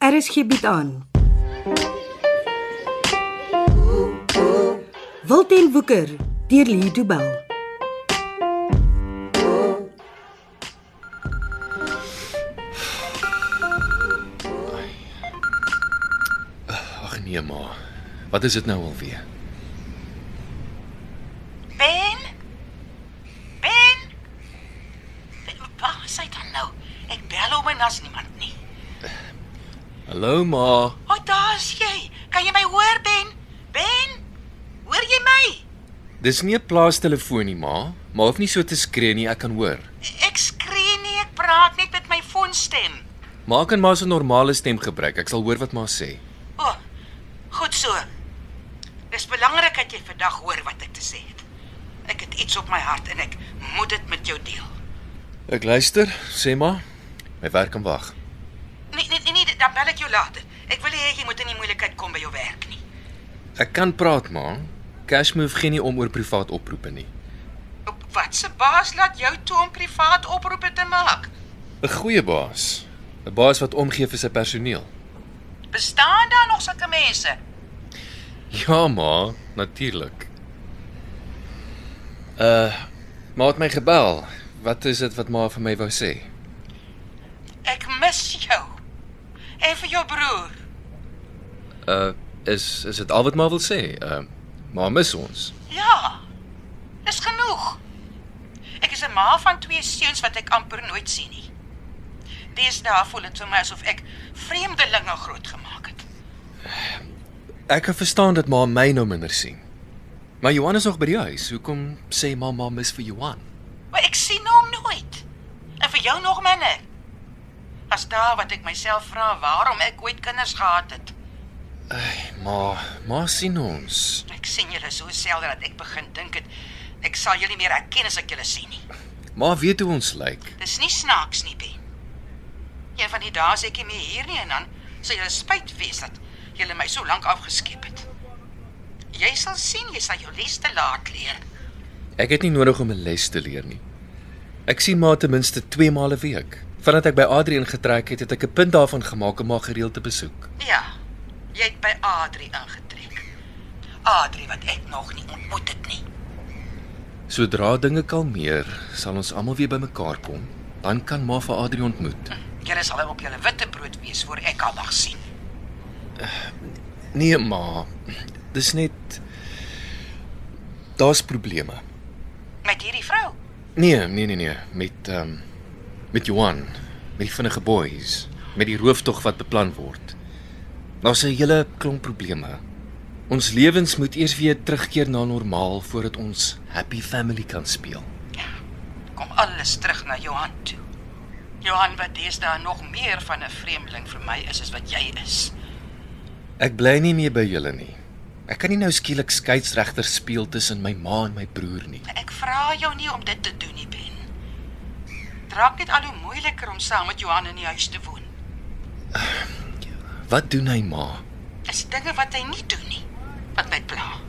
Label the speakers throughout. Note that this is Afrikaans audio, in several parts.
Speaker 1: RSG bied Er aan. Wilten Woeker deur Lee Du Bell.
Speaker 2: Ag nee ma. Wat is dit nou alweer?
Speaker 3: Ben? Ben? Waar is hy dan nou? Ek bel hom en daar's niemand nie.
Speaker 2: Hallo ma.
Speaker 3: O, oh, daar's jy. Kan jy my hoor, Ben? Ben? Hoor jy my?
Speaker 2: Dis nie 'n plaastelefoon nie ma. Maar hoef nie so te skree nie, ek kan hoor.
Speaker 3: Ek skree nie, ek praat net met my foonstem.
Speaker 2: Maak en ma se normale stem gebruik. Ek sal hoor wat ma sê.
Speaker 3: O, oh, goed so. Dis belangrik dat jy vandag hoor wat ek te sê het. Ek het iets op my hart en ek moet dit met jou deel.
Speaker 2: Ek luister, sê ma. My werk kan wag.
Speaker 3: Nee, nee, nee, nee, dan bel ek jou later. Ek wil nie hê jy moet in die moeilikheid kom by jou werk nie.
Speaker 2: Ek kan praat ma. Cashmove gee nie om oor privaat oproepe nie.
Speaker 3: Op wat se baas laat jou toe om privaat oproepe te maak?
Speaker 2: 'n Goeie baas. 'n Baas wat omgee vir sy personeel.
Speaker 3: Bestaan daar nog sulke mense?
Speaker 2: Ja ma, natuurlik. Uh ma het my gebel. Wat is dit wat ma vir my wou sê?
Speaker 3: Ek mis jou. En vir jou broer.
Speaker 2: Uh is is dit al wat ma wil sê? Uh ma mis ons.
Speaker 3: Ja. Dis genoeg. Ek is 'n ma van twee seuns wat ek amper nooit sien nie. Deesdae voel dit vir my asof ek vreemdelinge grootgemaak het.
Speaker 2: Ek kan verstaan dat ma my nou minder sien. Maar Johan is nog by die huis. Hoekom sê ma ma mis vir Johan?
Speaker 3: Maar ek sien hom nooit. En vir jou nog minder. As daar wat ek myself vra waarom ek ooit kinders gehad het.
Speaker 2: Ma, ma sien ons.
Speaker 3: Ek sien julle so selde dat ek begin dink het ek sal julle nie meer herken as ek julle sien nie.
Speaker 2: Ma weet hoe ons lyk.
Speaker 3: Dis nie snaaks nie, Ben. Een van die dae as ek nie meer hier nie en dan sal jy spyt wees dat jy my so lank afgeskep het. Jy sal sien jy sal jou les te laat leer.
Speaker 2: Ek het nie nodig om 'n les te leer nie. Ek sien ma ten minste 2 maal 'n week. Vandat ek by Adrian getrek het, het ek 'n punt daarvan gemaak om haar gereeld te besoek.
Speaker 3: Ja. Jy het by Adri ingetrek. Adri wat ek nog nie ontmoet het nie.
Speaker 2: Sodra dinge kalmeer, sal ons almal weer bymekaar kom. Dan kan ma vir Adrian ontmoet.
Speaker 3: Julle sal op julle witte brood wees voor ek haar mag sien.
Speaker 2: Nee ma, dis net daar's probleme.
Speaker 3: Met hierdie vrou.
Speaker 2: Nee, nee nee nee, met ehm um, met Johan, met die vinnige boys, met die rooftog wat beplan word. Daar's 'n hele klomp probleme. Ons lewens moet eers weer terugkeer na normaal voordat ons happy family kan speel.
Speaker 3: Ja. Kom alles terug na Johan toe. Johan wat deesdae nog meer van 'n vreemdeling vir my is as wat jy is.
Speaker 2: Ek bly nie meer by julle nie. Ek kan nie nou skielik skeieregter speel tussen my ma en my broer nie.
Speaker 3: Ek vra jou nie om dit te doen nie, Ben. Dit raak net al hoe moeiliker om saam met Johan in die huis te woon.
Speaker 2: Wat doen hy ma?
Speaker 3: Dis dinge wat hy nie doen nie wat my pla.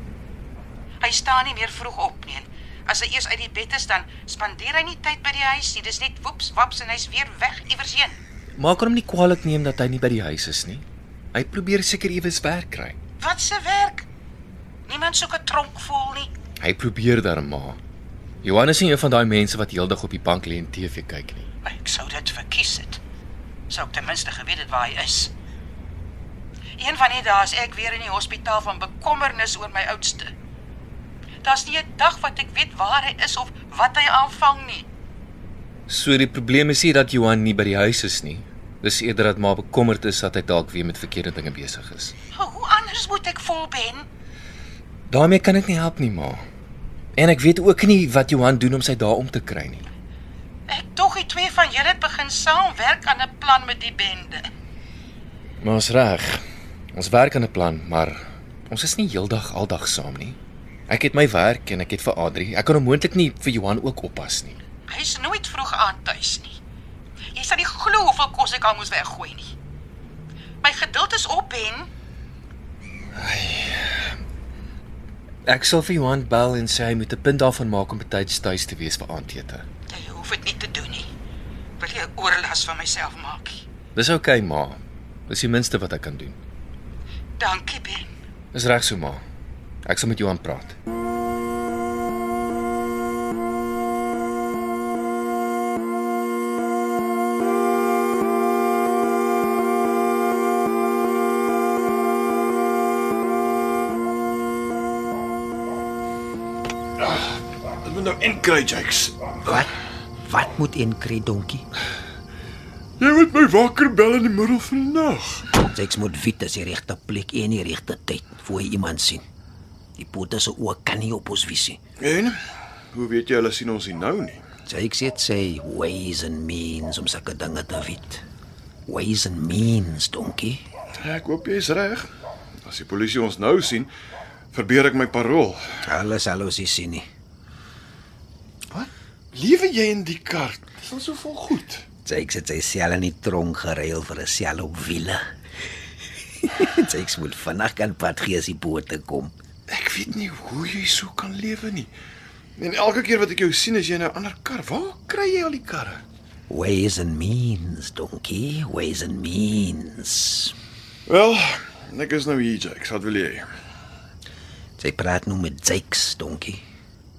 Speaker 3: Hy staan nie meer vroeg op nie en as hy eers uit die bed is dan spandeer hy nie tyd by die huis nie. Dis net woeps waps en hy's weer weg iewers heen.
Speaker 2: Ma kan hom nie kwaadlik neem dat hy nie by die huis is nie. Hy probeer seker iewes werk kry.
Speaker 3: Wat se werk? Niemand soek 'n tronk vol nie.
Speaker 2: Hy probeer daar ma. Johan is nie een van daai mense wat heeldag op die bank lê en TV kyk nie.
Speaker 3: Ek sou dit verkies het. Sou ek ten minste geweet het waar hy is. Een van die dae is ek weer in die hospitaal van bekommernis oor my oudste. Daar's nie 'n dag wat ek weet waar hy is of wat hy aanvang nie.
Speaker 2: So die probleem is nie dat Johan nie by die huis is nie. Dis eerder dat ma bekommerd is dat hy dalk weer met verkeerde dinge besig is.
Speaker 3: Hoe anders moet ek vol ben?
Speaker 2: Daarmee kan ek nie help nie, ma. En ek weet ook nie wat Johan doen om sy dae om te kry nie.
Speaker 3: Ek tog die twee van julle het begin saamwerk aan 'n plan met die bende.
Speaker 2: Maar ons reg. Ons werk aan 'n plan, maar ons is nie heeldag aldag saam nie. Ek het my werk en ek het vir Adri. Ek kan onmoontlik nie vir Johan ook oppas nie.
Speaker 3: Hy's nooit vroeg aan tuis nie. Jy sal nie glo hoeveel kos ek al moes weggooi nie. My geduld is op, Ben.
Speaker 2: Ek sal vir Johan bel en sê hy moet 'n punt daarvan maak om betyds tuis te wees vir aandete.
Speaker 3: Ja, Jy hoef dit nie te doen nie. Wil jy 'n oorlas van myself maak? nie.
Speaker 2: Dis oukei, okay, ma. Dis die minste wat ek kan doen.
Speaker 3: Dankie, Ben.
Speaker 2: Dis reg so maar. Ek sal met Johan praat.
Speaker 4: Dit moet nou encourage Jakes.
Speaker 5: Wat? Wat moet een kry donkie?
Speaker 4: Jy moet my wakker bel in die middel van die nag.
Speaker 5: Jacques moet weet dis die regte plek en die regte tyd voor hy iemand sien. Die pote se oë kan nie op ons visie.
Speaker 4: En hoe weet jy hulle sien ons nie nou nie?
Speaker 5: Jacques het sy ways and means om sulke dinge te weet. Ways and means, donkie.
Speaker 4: Ek hoop jy's reg. As die polisie ons nou sien, verbeur ek my parol.
Speaker 5: Alles alles is sien nie.
Speaker 4: Wat? Liewe jy in die kar? Dis al so vol goed.
Speaker 5: Jacques het sy sel in die tronk geruil vir 'n sel op wiele. Jacques moet vanaand kan pad gee as die pote kom.
Speaker 4: Ek weet nie hoe jy so kan lewe nie. En elke keer wat ek jou sien, is jy in 'n ander kar. Waar kry jy al die karre?
Speaker 5: Ways and means, donkie. Ways and means.
Speaker 4: Wel, ek is nou hier, Jakes. Wat wil jy?
Speaker 5: Sy praat nou met Jakes, donkie.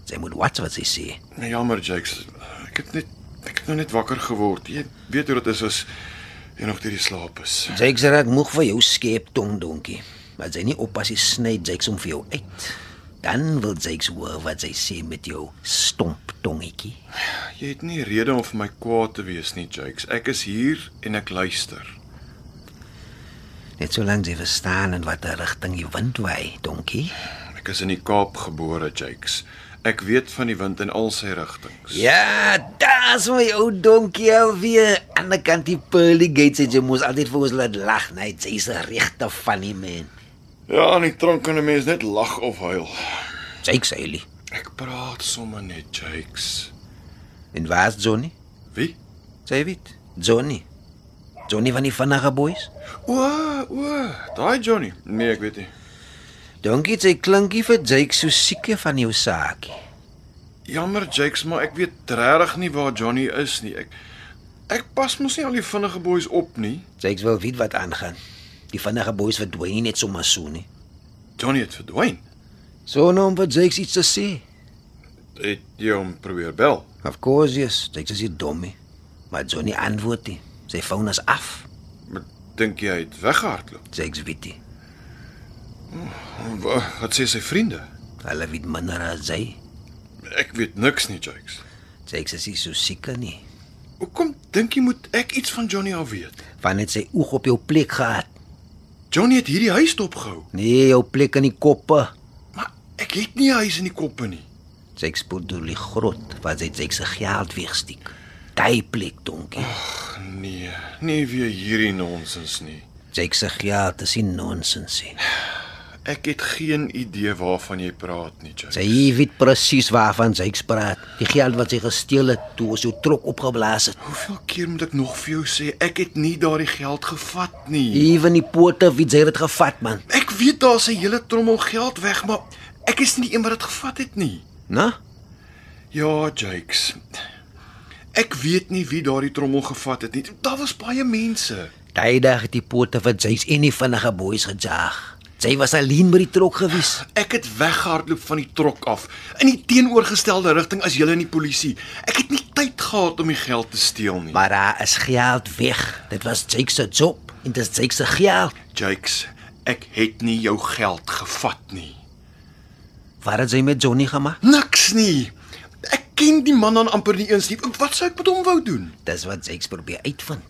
Speaker 5: Sy moet wat wat sy sê.
Speaker 4: Nee, Jammer, Jakes. Ek het net ek het nou net wakker geword. Jy weet hoe dit is as jy nog deur die slaap is.
Speaker 5: Jakes raak moeg vir jou skep tong, donkie. Maar sy nie oppas jy sny Jakes om vir jou uit. Dan wil Jakes hoor wat sy sê met jou stomp tongetjie.
Speaker 4: Jy het nie rede om vir my kwaad te wees nie, Jakes. Ek is hier en ek luister.
Speaker 5: Net solank jy verstaan in watter rigting die wind waai, donkie.
Speaker 4: Ek is in die Kaap gebore, Jakes. Ek weet van die wind in al sy rigtings.
Speaker 5: Ja, daar's my ou donkie alweer. Aan die kant die pearly gates het jy mos altyd vir ons laat lag, nee, sy's 'n regte funny man.
Speaker 4: Ja, in die tronk kan 'n mens net lag of huil.
Speaker 5: Jakes Haley.
Speaker 4: Ek praat sommer net, Jakes.
Speaker 5: En waar's Johnny?
Speaker 4: Wie?
Speaker 5: Sy weet. Johnny. Johnny van die vinnige boys.
Speaker 4: O, o, daai Johnny. Nee, ek weet nie.
Speaker 5: Donkie het sy klinkie vir Jake so siekie van jou saakie.
Speaker 4: Jammer, Jakes, maar ek weet regtig nie waar Johnny is nie. Ek ek pas mos nie al die vinnige boeis op nie.
Speaker 5: Jake wil weet wat aangaan. Die vinnige boeis verdwyn nie net sommer so nie.
Speaker 4: Johnny het verdwyn.
Speaker 5: So nou om vir Jake iets te sê.
Speaker 4: Het jy hom probeer bel?
Speaker 5: Of course yes, Jake is nie dom nie. Maar Johnny antwoord nie. Sy foon is af.
Speaker 4: Maar dink jy hy het weggehardloop?
Speaker 5: Jake weet nie.
Speaker 4: Wa- Wat sê sy vriende?
Speaker 5: Hulle weet minder as hy.
Speaker 4: Ek weet niks nie, Jakes.
Speaker 5: Jake is nie so siekie nie.
Speaker 4: Hoekom dink jy moet ek iets van Johnny al weet?
Speaker 5: Want het sy oog op jou plek gehad.
Speaker 4: Johnny het hierdie huis dopgehou,
Speaker 5: Nee, jou plek in die koppe.
Speaker 4: maar ek het nie 'n huis in die koppe nie.
Speaker 5: Jake spoed deur die grot waar sy Jake se geld wegsteek. Daai plek donkie.
Speaker 4: Nee, nie weer hierdie nonsens nie.
Speaker 5: Jake se geld is nie nonsens nie.
Speaker 4: Ek het geen idee waarvan jy praat nie, Jakes.
Speaker 5: Sy weet presies waarvan sy praat. Die geld wat sy gesteel het toe ons jou trok opgeblaas het.
Speaker 4: Hoeveel keer moet ek nog vir jou sê ek het nie daardie geld gevat nie.
Speaker 5: Ewen die pote wie sy het dit gevat man.
Speaker 4: Ek weet daar's 'n hele trommel geld weg, maar ek is nie die een wat dit gevat het nie.
Speaker 5: Né?
Speaker 4: Ja, Jakes. Ek weet nie wie daardie trommel gevat het nie. Daar was baie mense.
Speaker 5: Daai dag het die pote van sy's en die vinnige boeis gejaag. Sy was alleen by die trok gewees.
Speaker 4: Ek het weggehardloop van die trok af in die teenoorgestelde rigting as julle in die polisie. Ek het nie tyd gehad om die geld te steel nie.
Speaker 5: Maar daar is geld weg. Dit was Jake se job en dit is Jake se geld.
Speaker 4: Jakes, ek het nie jou geld gevat nie.
Speaker 5: Wat het sy met Johnny gemaak?
Speaker 4: Niks nie. Ek ken die man dan amper nie eens nie. Wat sou ek met hom wou doen?
Speaker 5: Dis wat Jake probeer uitvind.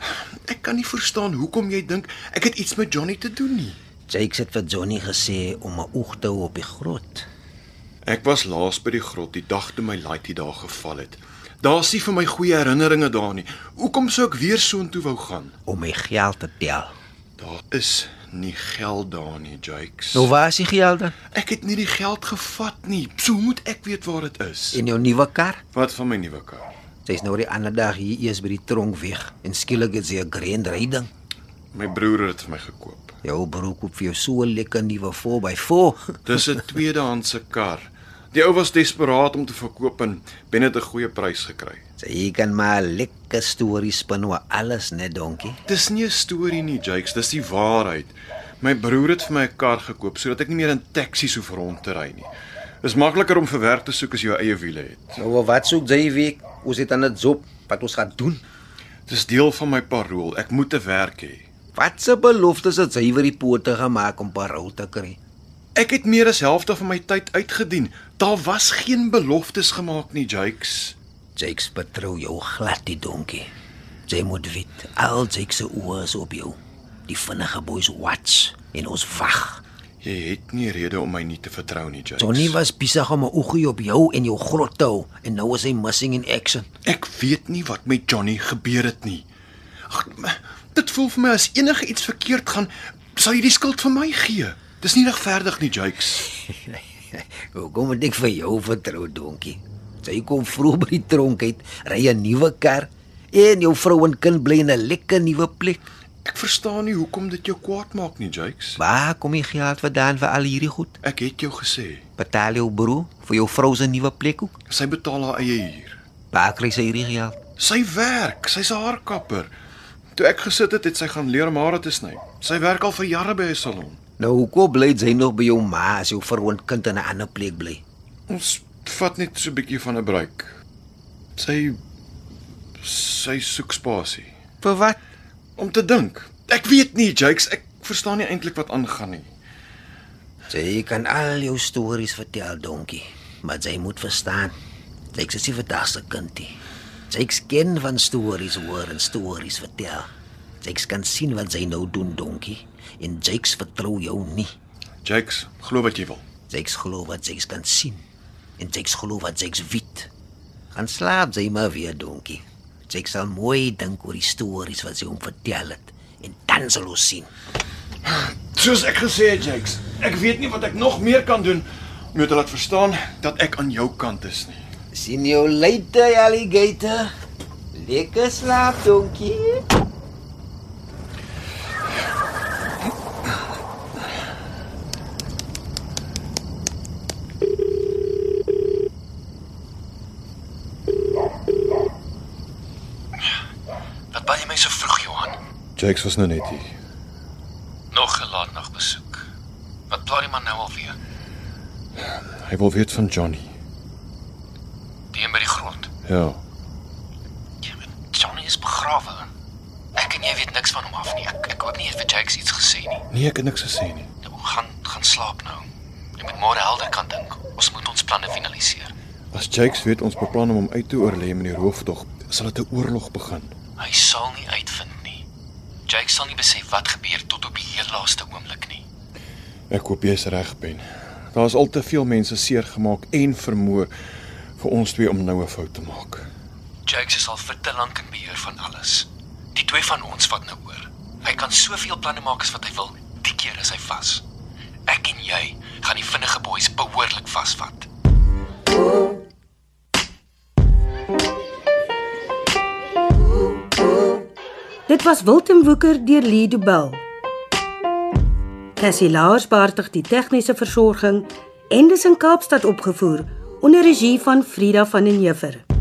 Speaker 4: Ek kan nie verstaan hoekom jy dink ek het iets met Johnny te doen nie.
Speaker 5: Jake het vir Johnny gesê om 'n oog te hou op die grot.
Speaker 4: Ek was laas by die grot die dag toe my laaitie daar geval het. Daar's nie vir my goeie herinneringe daar nie. Hoekom sou ek weer soontoe wou gaan?
Speaker 5: om my geld te tel.
Speaker 4: Daar is nie geld daar nie, Jakes.
Speaker 5: Nou waar is die geld dan?
Speaker 4: ek het nie die geld gevat nie. So hoe moet ek weet waar dit is?
Speaker 5: In jou nuwe kar?
Speaker 4: Wat van my nuwe kar?
Speaker 5: Sy's nou die ander dag hier eers by die tronk weg en skielik het sy 'n grand ryding.
Speaker 4: My broer het dit vir my gekoop.
Speaker 5: Jou broer koop vir jou so 'n lekker nuwe 4x4.
Speaker 4: Dis 'n tweedehandse kar. Die ou was desperaat om te verkoop en Ben het 'n goeie prys gekry.
Speaker 5: Sy kan maar lekker stories spin oor alles, net donkie.
Speaker 4: Dis nie 'n storie nie, Jakes, dis die waarheid. My broer het vir my 'n kar gekoop sodat ek nie meer in taksies hoef rond te ry nie. Is makliker om vir werk te soek as jy jou eie wiele het.
Speaker 5: Nou wel, wat soek jy week? Ons het aan 'n job wat ons gaan doen.
Speaker 4: Dis deel van my parool. Ek moet 'n werk hê.
Speaker 5: Wat se beloftes het jy vir die pote gemaak om parou te kry?
Speaker 4: Ek het meer as helfte van my tyd uitgedien. Daar was geen beloftes gemaak nie, Jakes.
Speaker 5: Jakes betrou jou glad die donkie. Jy moet weet, al Jakes se oë is op jou. Die vinnige boys watch en ons wag.
Speaker 4: Jy het nie rede om my nie te vertrou nie, Jakes.
Speaker 5: Johnny was besig om 'n oogie op jou en jou grot te hou en nou is hy missing in action.
Speaker 4: Ek weet nie wat met Johnny gebeur het nie. Ag, m- dit voel vir my as enige iets verkeerd gaan, sal jy die skuld vir my gee. Dis nie regverdig nie, Jakes.
Speaker 5: Hoekom moet ek vir jou vertrou, donkie? Jy kom vroeg by die tronk uit, ry 'n nuwe kar en jou vrou en kind bly in 'n lekker nuwe plek.
Speaker 4: Ek verstaan nie hoekom dit jou kwaad maak nie, Jakes.
Speaker 5: Waar kom die geld vandaan vir al hierdie goed?
Speaker 4: Ek het jou gesê,
Speaker 5: Betaal jou broer vir jou vrou se nuwe plek ook?
Speaker 4: sy betaal haar eie huur.
Speaker 5: Waar kry sy hierdie geld?
Speaker 4: Sy werk, sy's 'n haarkapper. Toe ek gesit het, het sy gaan leer om hare te sny. Sy werk al vir jare by 'n salon.
Speaker 5: Nou hoekom bly jy nog by jou ma as jou vrou en kind in 'n ander plek bly?
Speaker 4: Ons vat net so 'n bietjie van 'n breek. Sy sy soek spasie.
Speaker 5: Vir wat?
Speaker 4: om te dink. Ek weet nie, Jakes, ek verstaan nie eintlik wat aangaan nie.
Speaker 5: Jy kan al jou stories vertel, donkie, maar jy moet verstaan. Ek is nie vandag se kindie. Ek ken van stories hoor en stories vertel. Ek kan sien wat jy nou doen, donkie, en ek vertrou jou nie.
Speaker 4: Jakes, glo wat jy wil.
Speaker 5: Ek glo wat ek kan sien en ek glo wat ek weet. Gaan slaap jy maar weer, donkie. Ek sal mooi dink oor die stories wat jy hom vertel het en dan sal ons sien.
Speaker 4: Soos ek gesê het, Jakes, ek weet nie wat ek nog meer kan doen om jou te laat verstaan dat ek aan jou kant is nie.
Speaker 5: Sien jou later, alligator. Lekker slaap, donkie.
Speaker 2: Wat bel jy my so vroeg, Johan?
Speaker 4: Jakes was nou net hier.
Speaker 2: Nog 'n laat nag besoek. Wat pla jy man nou alweer?
Speaker 4: Hy wil weet van Johnny.
Speaker 2: Die een by die grond.
Speaker 4: Ja.
Speaker 2: Johnny is begrawe. Ek en jy weet niks van hom af nie. Ek ek het nie vir Jakes iets gesê nie.
Speaker 4: Nee, ek het niks gesê nie.
Speaker 2: Nou gaan gaan slaap nou. Jy moet môre helder kan dink. Ons moet ons planne finaliseer.
Speaker 4: As Jakes weet ons beplan om hom uit te oorlê met die rooftog, sal dit 'n oorlog begin.
Speaker 2: Hy sal nie uitvind nie. Jake sal nie besef wat gebeur tot op die heel laaste oomblik nie.
Speaker 4: Ek hoop jy's reg, Ben. Daar's al te veel mense seer gemaak en vermoor vir ons twee om nou 'n fout te maak.
Speaker 2: Jake is al vir te lank in beheer van alles. Die twee van ons vat nou oor. Hy kan soveel planne maak as wat hy wil. Die keer is hy vas. Ek en jy gaan die vinnige boeis behoorlik vasvat.
Speaker 1: Dit was Wilten Woeker deur Lee Du Bell. Cassie Lars beheerdig die tegniese versorging en dis in Kaapstad opgevoer onder regie van Frida van den Heever.